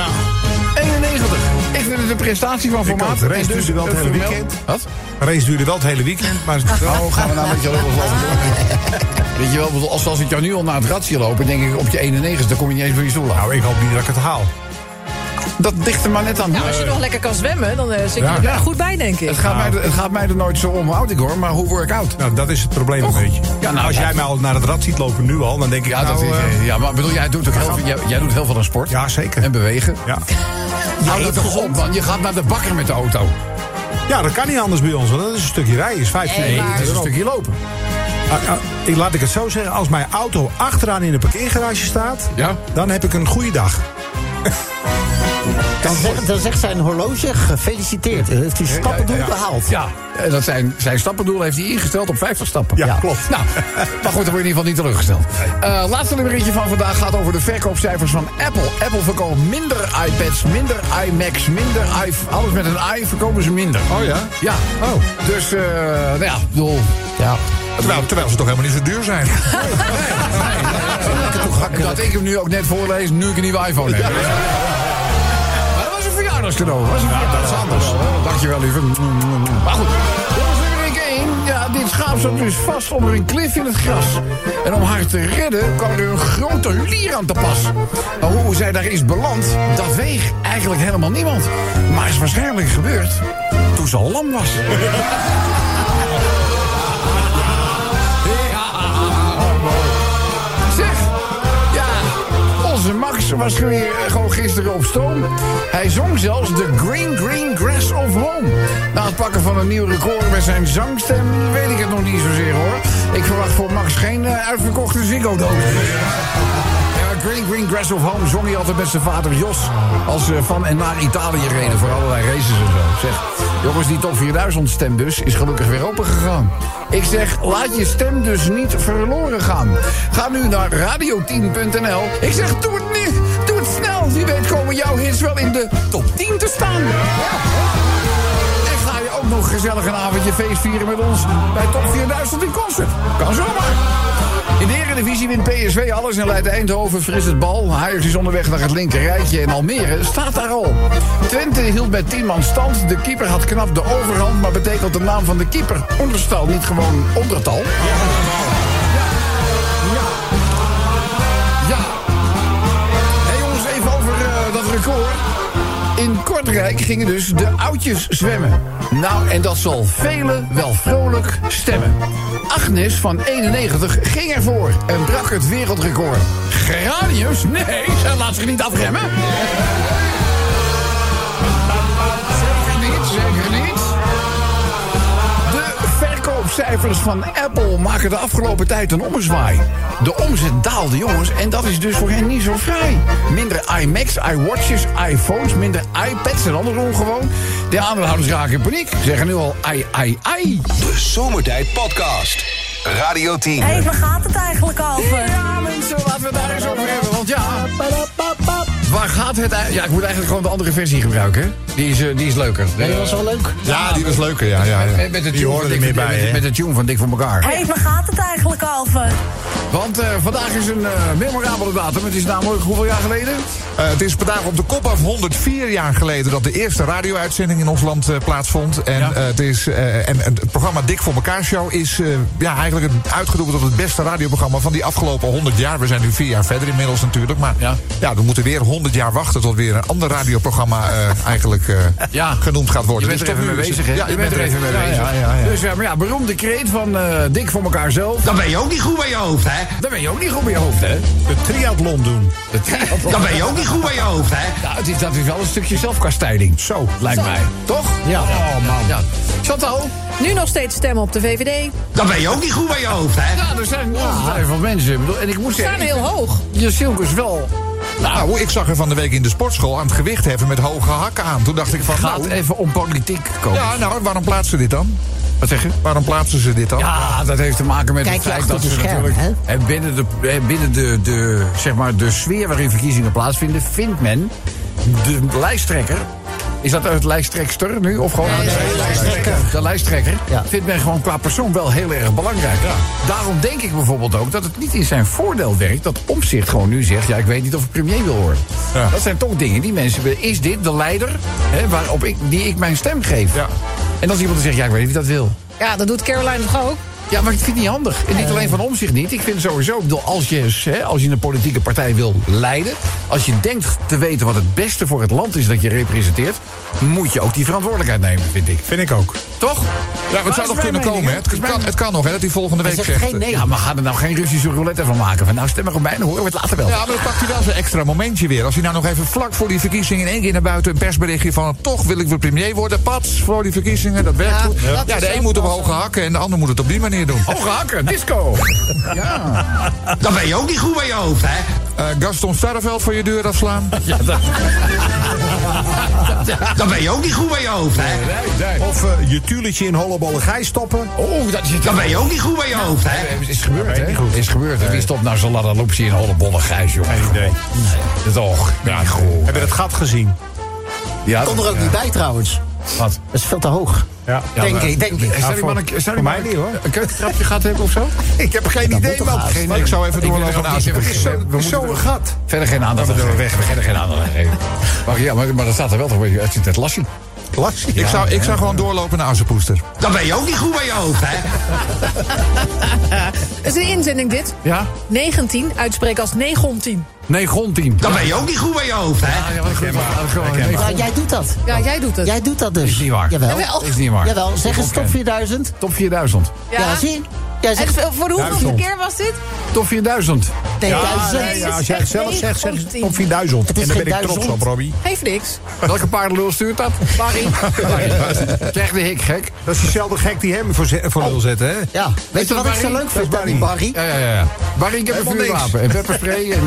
B: 91. Ik vind het een prestatie van
D: Ik ook.
B: formaat.
D: De race
B: En dus
D: duurde wel het
B: een
D: hele
B: vermeld-
D: weekend.
B: Wat?
D: De race duurde wel het hele weekend. Maar
B: Oh, gaan we nou met je lubbels lopen? Weet je wel, bedoel, als, als ik jou nu al naar het ratje loop, denk ik op je 91, dan kom je niet eens van je stoel af. Nou, ik hoop niet dat ik het haal. Dat ligt er maar net aan.
K: Ja, als je nog lekker kan zwemmen, dan eh, zit je er goed bij, denk ik.
B: Het gaat, mij, er- het gaat mij er nooit zo om, houd ik hoor, maar hoe word ik oud?
D: Nou, dat is het probleem een beetje.
B: Ja, nou,
D: Als
B: ja.
D: jij mij al naar het rad ziet lopen nu al, dan denk ik...
B: Ja, dat
D: nou,
B: is,
D: eh,
B: ja, maar bedoel, jij doet, ook heel veel, jij, jij doet heel veel aan sport. Ja, zeker. En bewegen.
D: Ja.
B: Hou dat toch op, man. Je gaat naar de bakker met de auto.
D: Ja, dat kan niet anders bij ons, want dat is een stukje rijden. is 15
B: Nee, het is een stukje lopen.
D: Ah, ah, ik, laat ik het zo zeggen, als mijn auto achteraan in de parkeergarage staat... dan heb ik een goede dag.
M: Dan, zegt- dan zegt zijn horloge gefeliciteerd. U heeft uw stappendoel
B: Ja, ja, ja.
M: behaald.
B: Ja, en Eh, dat zijn, zijn stappendoel heeft hij ingesteld op 50 stappen. Ja, klopt. Nou, maar goed, dan word je in ieder geval niet teruggesteld. Eh laatste nummeretje van vandaag gaat over de verkoopcijfers van Apple. Apple verkoopt minder iPads, minder iMacs, minder i... Alles met een i verkopen ze minder. Oh ja? Ja. Oh. Dus, eh nou ja, ik bedoel... Ja.
F: Terwijl, terwijl ze toch helemaal niet zo duur zijn.
B: Dat ik hem nu ook net voorlees, nu ik een nieuwe iPhone heb. Maar dat was een verjaardagscadeau. Dat was een verjaardagscadeau. Dankjewel, lieve. Maar goed. Jongens, nummer ik één. Ja, dit schaap zat dus vast onder een klif in het gras. En om haar te redden kwam er een grote lier aan te pas. Maar hoe zij daar is beland, dat weeg eigenlijk helemaal niemand. Maar is waarschijnlijk gebeurd toen ze al lam was. Zeg, ja, onze Max was weer gewoon gisteren op stoom. Hij zong zelfs The Green Green Grass of Home. Na het pakken van een nieuw record met zijn zangstem weet ik het nog niet zozeer hoor. Ik verwacht voor Max geen eh, uitverkochte Ziggo-doos. Ja, Green Green Grass of Home zong hij altijd met zijn vader Jos. Als ze van en naar Italië reden voor allerlei races en zo. Zeg, jongens, die top 4000 stembus is gelukkig weer open gegaan. Ik zeg, laat je stem dus niet verloren gaan. Ga nu naar radio10.nl. Ik zeg, doe het nu, doe het snel. Wie weet komen jouw hits wel in de top 10 te staan. En ga je ook nog gezellig een avondje feest vieren met ons bij Top 4000 in concert. Kan zomaar. In de Eredivisie wint PSV alles en leidt Eindhoven fris het bal. Ajax is onderweg naar het linkerrijtje en Almere staat daar al. Twente hield bij 10 man stand. De keeper had knap de overhand, maar betekent de naam van de keeper onderstal, niet gewoon ondertal? Ja. Hey jongens, even over eh, dat record. In Kortrijk gingen dus de oudjes zwemmen. Nou, en dat zal velen wel vrolijk stemmen. Agnes van 91 ging ervoor en brak het wereldrecord. Geraniums? Nee, ze laat zich niet afremmen. Zeker niet, zeker niet. De verkoopcijfers van Apple maken de afgelopen tijd een ommezwaai. De omzet daalde, jongens, en dat is dus voor hen niet zo vrij. Minder iMacs, iWatches, iPhones, minder iPads en andere ongewoon. De aandeelhouders raken in paniek, zeggen nu al ai, ai, ai.
A: De Zomertijd Podcast. Radio 10.
L: Hé, waar gaat het eigenlijk over?
B: Ja, mensen, laten we het daar eens over hebben. Want ja, Waar gaat het eigenlijk... Ja, ik moet eigenlijk gewoon de andere versie gebruiken. hè? Die is, eh, die is leuker.
M: Nee, die was wel leuk.
F: Ja, die was leuker, ja. ja, ja.
B: Met, met,
F: Die
B: de tune
F: hoorde
B: van
F: er
B: Dick
F: meer
B: van-
F: bij,
B: met-
F: hè?
B: met de tune van Dick van elkaar.
L: Hé, waar gaat het eigenlijk, Alve?
B: Want eh, vandaag is een eh, memorabele datum. Het is namelijk hoeveel jaar geleden? Oh,
F: Eh, het is vandaag op de kop af 104 jaar geleden dat de eerste radio-uitzending in ons land eh, plaatsvond. En, eh, het is, eh, en het programma Dik voor elkaar show is eh, ja, eigenlijk het- uitgeroepen tot het beste radioprogramma van die afgelopen 100 jaar. We zijn nu vier jaar verder inmiddels natuurlijk. Maar ja. we moeten weer 100 jaar wachten tot weer een ander radioprogramma eh, eigenlijk eh, genoemd gaat
B: Je
F: worden.
B: bent er
F: Dus tot
B: even mee
F: nu is het-
B: bezig, hè?
F: Ja,
B: je bent er even mee
F: ja,
B: bezig.
F: Ja, ja, ja.
B: Dus eh, maar ja, beroemde kreet van eh Dick voor elkaar zelf.
N: Dan ben je ook niet goed bij je hoofd, hè?
B: Dan ben je ook niet goed bij je hoofd, hè?
D: De triathlon doen.
B: De triathlon.
N: Dan ben je ook niet goed bij je hoofd, hè?
B: Ja, het is, dat is wel een stukje zelfkastijding.
F: Zo.
B: Lijkt mij. Toch? Ja. Oh, man. Ja. Chantal?
K: Nu nog steeds stemmen op de VVD.
N: Dan ben je ook niet goed bij je hoofd, hè?
B: Ja, er zijn ongetwijfeld van mensen. Ik bedoel, En ik
K: Ze
B: moest
K: staan
B: zeggen...
K: heel hoog.
B: Je Silkes wel.
F: Nou, ik zag er van de week in de sportschool aan het gewicht heffen met hoge hakken aan. Toen dacht ik van,
B: Gaat e-
F: nou,
B: even om politiek komen.
F: ja, nou, waarom plaatsen ze dit dan?
B: Wat zeg je?
F: Waarom plaatsen ze dit dan?
B: Ja, dat heeft te maken met
M: Kijk
B: het
M: je
B: feit
M: achter
B: dat
M: de
B: ze
M: schermen,
B: natuurlijk... En binnen, de, hè, binnen de, de, zeg maar de sfeer waarin verkiezingen plaatsvinden... vindt men de lijsttrekker... Is dat het lijsttrekster nu? Of gewoon de lijsttrekker? De lijsttrekker vindt men gewoon qua persoon wel heel erg belangrijk. Daarom denk ik bijvoorbeeld ook dat het niet in zijn voordeel werkt... dat Omzicht gewoon nu zegt... ja, ik weet niet of ik premier wil worden. Dat zijn toch dingen die mensen... willen. is dit de leider hè, waarop ik, die ik mijn stem geef? En als iemand dan zegt... ja, ik weet niet of dat wil...
K: Ja, dat doet Caroline toch ook?
B: Ja, maar ik vind het niet handig. En niet alleen van om zich niet. Ik vind sowieso, ik bedoel, als je, hè, als je een politieke partij wil leiden... als je denkt te weten wat het beste voor het land is dat je representeert... moet je ook die verantwoordelijkheid nemen, vind ik.
D: Vind ik ook.
B: Toch?
F: Ja, het zou nog kunnen komen, hè? Het kan, het kan nog, hè, dat hij volgende week zegt...
B: Ja, maar ga er nou geen Russische roulette van maken. Van, nou, stem maar op mij en dan horen we het later wel.
F: Ja, maar dan pakt hij wel zijn extra momentje weer. Als hij nou nog even vlak voor die verkiezingen in één keer naar buiten een persberichtje van toch wil ik weer premier worden. Pats, voor die verkiezingen, dat werkt goed.
B: dat
F: Ja,
B: is
F: de
B: ook
F: een moet op
B: wel
F: hoge
B: zo.
F: hakken en de ander moet het op die manier doen.
B: Hoge hakken, disco! ja.
N: Dan ben je ook niet goed bij je hoofd, hè?
F: Eh, Gaston Starreveld voor je deur afslaan.
B: ja, dat...
N: Dan ben je ook niet goed bij je hoofd, hè?
D: Of eh, je tulletje in hollebolligij stoppen.
B: Oh, dat is
N: Dan ben je ook niet goed bij je hoofd, hè?
B: Is gebeurd, hè? Is gebeurd. Wie stopt nou zo'n ladderloopsie in hollebolle grijs, jongen? Geen idee. Toch? Ja, goh.
D: Hebben we het gat gezien?
B: Ja,
M: Kom er ook niet bij trouwens.
B: Wat?
M: Dat is veel te hoog.
D: Ja.
M: denk ik, denk ik.
B: Zou die man een, zou die man een, een keukentrapje gehad hebben of zo?
D: Ik heb geen idee,
M: moet toch
D: man.
M: haast.
D: Geen-
F: Ik zou even doorlopen naar
B: Het is
F: Azië.
B: zo-
D: Zo'n gat.
B: Verder geen aandacht aan geven. Verder geen aandacht aan geven. Maar, ja, maar, maar dat staat er wel toch een beetje uit. Het net lassie.
D: Lassie.
F: Ik zou, ik zou gewoon doorlopen naar Assepoester.
N: Dan ben je ook niet goed bij je hoofd, hè?
K: Het is een inzending dit.
B: Ja?
K: 19, uitspreken als 19.
B: Nee, grondteam.
N: Dan ben je ook niet goed bij je hoofd, hè?
B: Ja, wat goed. Wat goed. Nee,
M: Ja,
B: grond-
M: Nou, jij doet dat.
B: Nou,
K: Ja, jij doet het.
M: Jij doet dat dus.
B: Is niet waar.
M: Jawel.
K: Jawel.
B: Is niet waar.
M: Jawel. Zeg eens
B: Oké.
M: top 4000.
B: Top 4000.
M: Ja, zie je? Jij
K: En
M: zegt
K: voor de hoeveelste
D: Duizend.
K: keer was dit?
B: Top 4000.
M: nee,
D: Ja,
M: duizend.
D: nee, ja, als jij het zelf zegt, zeg je op 4000. En
M: Het is
D: daar ben ik
M: geen
D: trots op,
M: duizend.
D: Robbie.
K: Geeft niks.
B: Welke paardenlul stuurt dat? Barry. Zeg de hik, gek.
D: Dat is diezelfde gek die hem voor, ze- voor lul zet, hè?
M: Ja. Weet je wat ik
B: Barry?
M: zo leuk vind,
D: Dat is
M: Barry? Barry?
B: Ja, ja, ja, ja. Barry, ik heb een
D: Helemaal niks.
B: vuurwapen en pepperspray. En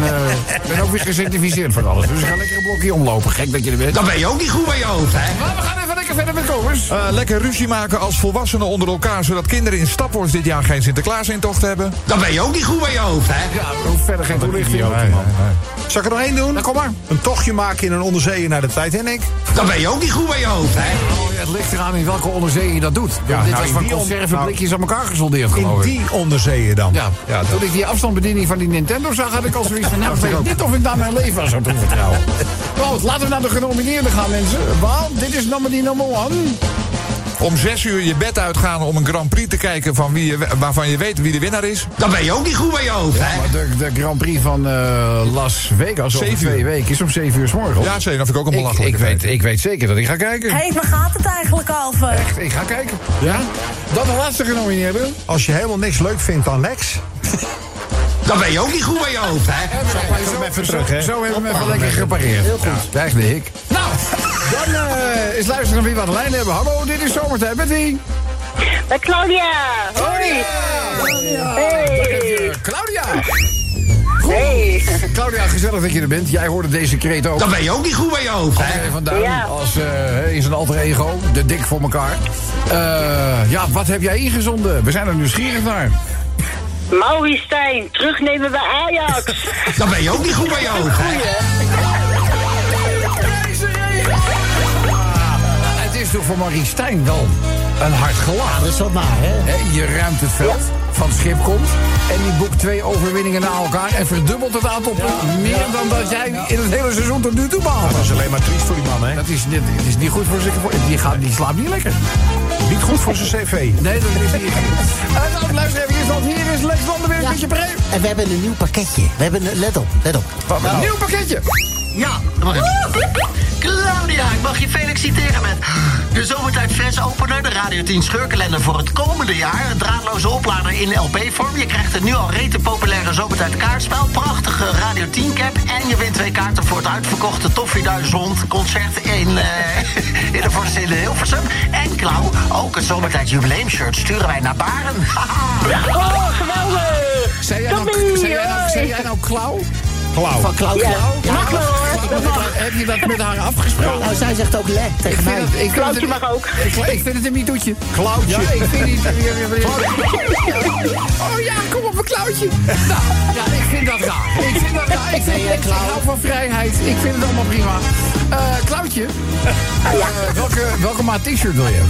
B: eh, ik ben ook weer gecertificeerd voor alles. Dus ik ga lekker een blokje omlopen. Gek dat je er bent.
N: Dan ben je ook niet goed bij je hoofd, hè?
B: Maar we gaan even lekker verder met komers.
F: Eh, lekker ruzie maken als volwassenen onder elkaar... zodat kinderen in Stapworst dit jaar geen Sinterklaasintocht hebben.
N: Dan ben je ook niet goed bij je hoofd, hè?
B: Ja, er hoeft verder geen toelichting.
D: idioot, man. Zal ik er nog één doen?
B: Nou, kom maar.
D: Een tochtje maken in een onderzeeën naar de Titanic.
N: Dan ben je ook niet goed bij je hoofd, hè?
B: Oh, ja, het ligt eraan in welke onderzee je dat doet.
D: Ja,
B: dit
D: nou,
B: was
D: in
B: van
D: die on-
B: conservenblikjes aan elkaar gesoldeerd,
D: In
B: geloof ik.
D: die onderzeeën dan.
B: Ja,
D: ja dat-
B: toen ik die afstandsbediening van die Nintendo zag, had ik al zoiets van... Nou, ik weet niet of ik daar mijn leven aan zou toevertrouwen. Goed, laten we naar de genomineerden gaan, mensen. Want dit is nummer die nummer one.
F: Om zes uur je bed uitgaan om een Grand Prix te kijken... Van wie je, waarvan je weet wie de winnaar is.
N: Dan ben je ook niet goed bij je hoofd, hè?
B: Maar de, de Grand Prix van eh, Las Vegas over
F: Zeven
B: twee
F: uur.
B: weken is om 7 uur s morgens.
F: Ja, zeker. Dat vind ik ook een
B: ik,
F: belachelijke
B: ik, weet, ik weet zeker dat ik ga kijken.
L: Hé, waar gaat het eigenlijk, Alve?
B: Echt, ik ga kijken. Oh, Ja? Dan de laatste genomineerde.
D: Als je helemaal niks leuk vindt aan Lex...
N: Dan ben je ook niet goed bij je hoofd, hè?
D: hem even terug, hè?
B: Zo hebben we hem even lekker gepareerd. Heel goed. Krijg de hik. Nou, dan eh, is luisteren wie we aan de lijn hebben. Hallo, dit is Zomertijd met wie?
O: Met Eh, Claudia. Hoi. Hey.
B: Eh, Claudia.
O: Hey.
B: Claudia, gezellig dat je er bent. Jij hoorde deze kreet ook.
N: Dan ben je ook niet goed bij je hoofd, hè?
B: André van Duin
O: Ja.
B: als eh, in zijn alter ego, de dik voor elkaar. Eh, ja, wat heb jij ingezonden? We zijn er nieuwsgierig naar.
O: Mauri Stijn, terugnemen bij Ajax.
N: Dan ben je ook niet goed bij je hoofd, hè?
O: Goeie. hè?
B: Ah, is toch voor Marie Stijn wel een hard gelach.
M: dat is wat na, hè?
B: Je ruimt het veld van schip komt. En die boekt twee overwinningen na elkaar. En verdubbelt het aantal punten. Meer dan dat jij in het hele seizoen tot nu toe behaalt.
P: Dat is alleen maar triest voor die man, hè?
B: Dat is, dit, dit is niet goed voor zijn... Die, gaat, die slaapt niet lekker.
P: Niet goed voor zijn cv.
B: Nee, dat is niet... Eh, nou, luister even, want hier is Lex Lander weer een beetje breed.
M: En we hebben een nieuw pakketje. We hebben een, let op, let op.
B: Wat, een nieuw pakketje.
N: Ja,
M: wacht
N: Claudia, ik mag je feliciteren met de Zomertijd Fles Opener, de Radio 10 scheurkalender voor het komende jaar. Een draadloze oplader in LP-vorm. Je krijgt het nu al rete populaire Zomertijd kaartspel, prachtige Radio 10 cap en je wint twee kaarten voor het uitverkochte Toffee 1000 concert in, eh in de Vorst in de Hilversum. En Klauw, ook een Zomertijd jubileumshirt sturen wij naar Baren.
O: Oh, geweldig!
B: Zei jij nou,
O: Toppie,
B: zei jij nou,
O: hoi.
B: zei jij nou klauw?
F: Oh.
P: Klauw.
M: Van Klauw.
O: Ja,
M: Klauw.
O: mag wel hoor. Dat mag.
B: Heb je dat met haar afgesproken?
M: Nou, zij zegt ook le
B: Ik
M: tegen
B: vind
M: mij.
B: het, ik vind
O: Klauwtje
B: het,
O: mag ook.
B: ik, ik vind het een miedoetje.
P: Klauwtje.
B: Ja, ik vind niet. Oh ja, kom op een klauwtje. Nou, ja, ik vind dat raar. Ik vind dat raar. Ik vind
M: Nee,
B: het
M: klauw.
B: klauw van vrijheid. Ik vind het allemaal prima. Eh klauwtje, eh, welke, welke maat t-shirt wil je?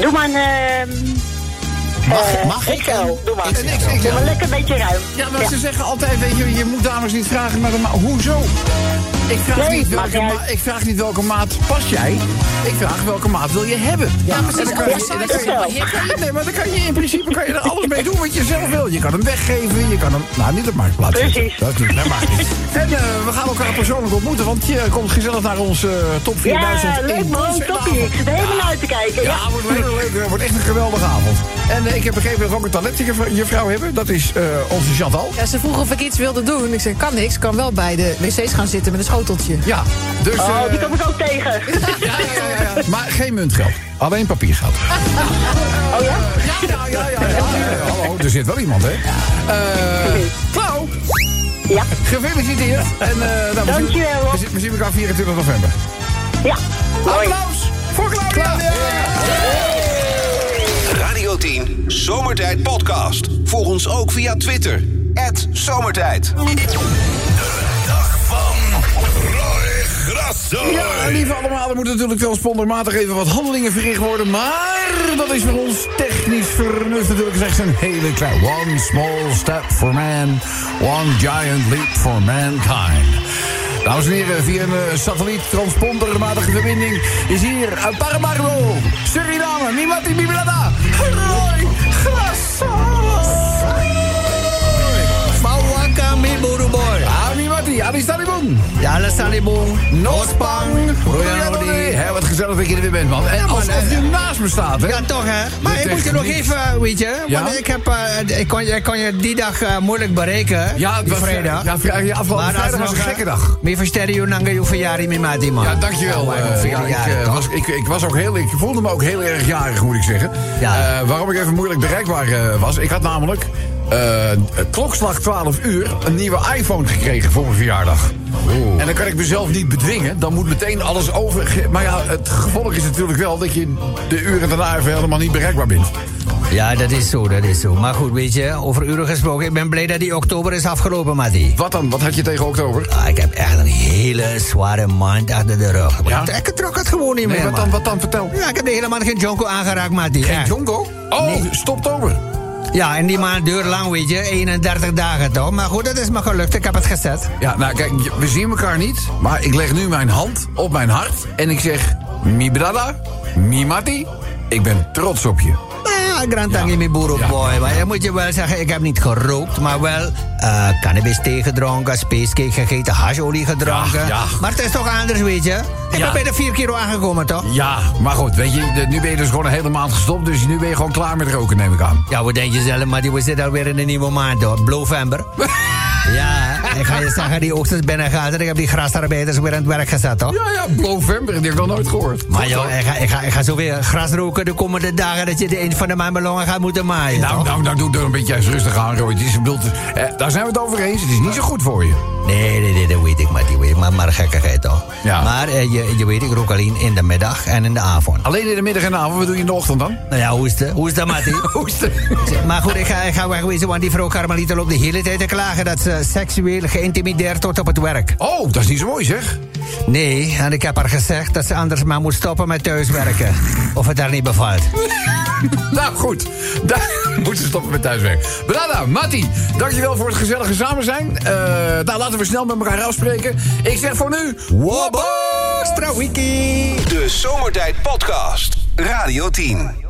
O: Doe maar een... ehm,
M: Mag,
O: eh,
M: mag ik?
O: XL. Doe maar.
B: Een XXL.
O: Doe maar lekker een beetje ruim.
B: Ja, maar ze zeggen altijd, weet je, je moet dames niet vragen naar de maat. Hoezo? Ik vraag,
O: Nee,
B: niet
O: maakt
B: welke
O: niet
B: ma-
O: uit.
B: ik vraag niet welke maat pas jij. Ik vraag welke maat wil je hebben. Ja,
K: precies.
B: Dan kan je,
K: Ja,
B: dan kan je-
O: precies.
B: je kan je- nee, maar dan kan je in principe kan je er alles mee doen wat je zelf wil. Je kan hem weggeven, je kan hem... Nou, niet op marktplaats. zetten.
O: Precies.
B: Dat niet, dat mag niet. En eh, we gaan elkaar persoonlijk ontmoeten, want je komt gezellig naar ons eh, top 4000.
O: Ja, leuk
B: in
O: man,
B: Concertavond.
O: toppie. Ik zit er helemaal naar uit te kijken. Ja,
B: Ja, wordt wel heel leuk. Het wordt echt een geweldige avond. En eh, ik heb begrepen dat we ook een talentjuffrouw hebben. Dat is eh, onze Chantal.
K: Ja, ze vroeg of ik iets wilde doen. Ik zei, kan niks. Kan wel bij de wc's gaan zitten met een schoteltje.
B: Ja, dus... eh,
O: Oh, die kom ik ook tegen.
B: Ja, ja, ja, ja. Maar geen muntgeld. Alleen papiergeld.
O: Oh ja?
B: Ja, ja, ja, ja. Hallo, er zit wel iemand, hè? Eh Klauw,
O: Ja,
B: gefeliciteerd. En, eh nou, we zien-
O: Dankjewel, Rob.
B: We zien, we zien elkaar 24 november.
O: ja. Hoi.
B: Applaus voor Claudia.
A: Radio 10 Zomertijd Podcast. Volg ons ook via Twitter. Zomertijd.
B: Ja, lieve allemaal, er moeten natuurlijk wel sponsormatig even wat handelingen verricht worden. Maar dat is voor ons technisch vernuft natuurlijk slechts een hele klein... One small step for man, one giant leap for mankind. Dames en heren, via een eh, satelliet-transpondermatige verbinding... is hier uit Paramaribo, Suriname, Mimati Biblada... Roy Grasso.
J: Mawaka mi boy.
B: Ah, Animati, Alistalibun.
J: Ja, la salibon.
B: Nospang. Royan Rodi. Hé, wat gezellig dat je er weer bent, man. En
J: Ja, man,
B: alsof
J: eh,
B: je naast me staat, hè?
J: Ja, toch hè? Maar
B: De
J: ik moet je nog
B: techniek.
J: even, eh, weet je,
B: Ja?
J: want ik, heb, eh, ik, kon, je- ik kon je die dag eh, moeilijk bereiken.
B: Ja, het
J: die
B: was- eh,
J: vrijdag.
B: ja, vri- ja, afgelopen
J: Maar
B: vrijdag was
J: alsnog,
B: een
J: eh,
B: gekke dag.
J: Meer versterren je nanga je verjaardag mee met die man.
B: nou, Ja, dankjewel.
J: Ja, maar
B: eh,
J: ik
B: ja,
J: vind- ja,
B: ik, eh,
J: dat
B: was, ik, ik was ook heel, ik voelde me ook heel erg jarig, moet ik zeggen.
J: Ja.
B: Eh, waarom ik even moeilijk bereikbaar eh, was. Ik had namelijk eh, klokslag 12 uur een nieuwe iPhone gekregen voor mijn verjaardag. En dan kan ik mezelf niet bedwingen. Dan moet meteen alles over. Maar ja, het gevolg is natuurlijk wel dat je de uren daarna even helemaal niet bereikbaar bent. eh.
J: Ja, dat is zo, dat is zo. Maar goed, weet je, over uren gesproken, ik ben blij dat die oktober is afgelopen, Matty.
B: Wat dan? Wat had je tegen oktober?
J: Ah, ik heb echt een hele zware maand achter de rug.
B: Ja?
J: Ik, ik trok het gewoon niet
B: Nee,
J: meer,
B: wat
J: man.
B: dan? Wat dan? Vertel.
J: Ja, ik heb de hele maand geen jonko aangeraakt, Matty.
B: Geen
J: Echt.
B: Jonko? Oh, stoptober.
J: Ja, en die maand duurt lang, weet je. 31 dagen toch. Maar goed, dat is me gelukt. Ik heb het gezet.
B: Ja, nou kijk, we zien elkaar niet. Maar ik leg nu mijn hand op mijn hart. En ik zeg, mi brada, mi mati. Ik ben trots op je.
J: Ah, grand tangi mi boer boy. Maar je moet je wel zeggen, ik heb niet gerookt. Maar wel eh, cannabis thee gedronken, spacecake gegeten, hasholie gedronken.
B: Ja, ja.
J: Maar het is toch anders, weet je. Ik
B: Ja.
J: ben bij de 4 kilo aangekomen, toch?
B: Ja, maar goed, weet je, de- nu ben je dus gewoon een hele maand gestopt. Dus nu ben je gewoon klaar met roken, neem ik aan.
J: Ja, wat denk je zelf, maar die we zitten alweer in een nieuwe maand, hoor. Blovember. ja, ik ga je zeggen, die ochtends binnen gaat en ik heb die grasarbeiders weer aan het werk gezet, toch?
B: Ja, ja, november, die heb ik nog nooit gehoord.
J: Maar joh, ik ga, ik, ga, ik ga zo weer gras roken de komende dagen dat je de een van de mijn longen gaat moeten maaien.
B: Nou,
J: toch?
B: nou, nou, doe er een beetje eens rustig aan, Roy. Het is, ik bedoel, het- eh, daar zijn we het over eens. Het is niet zo goed voor je.
J: Nee, nee, nee, dat weet ik maar, die weet ik maar, maar gekkigheid toch.
B: Ja.
J: Maar eh, je, je weet, ik rook alleen in de middag en in de avond.
B: Alleen in de middag en de avond, wat doe je in de ochtend dan?
J: Nou ja, hoe is het? Hoe is dat, Matty?
B: Hoesten.
J: maar goed, ik ga, ik ga wegwezen, want die vrouw Carmelita loopt de hele tijd te klagen dat ze seksueel haar geïntimideerd tot op het werk.
B: Oh, dat is niet zo mooi zeg.
J: Nee, en ik heb haar gezegd dat ze anders maar moet stoppen met thuiswerken. Of het haar niet bevalt.
B: nou goed, daar moeten ze stoppen met thuiswerk. Benada, Matti, dankjewel voor het gezellige samen zijn. Eh, nou, laten we snel met elkaar afspreken. Ik zeg voor nu... Wabba!
A: De Zomertijd Podcast. Radio 10.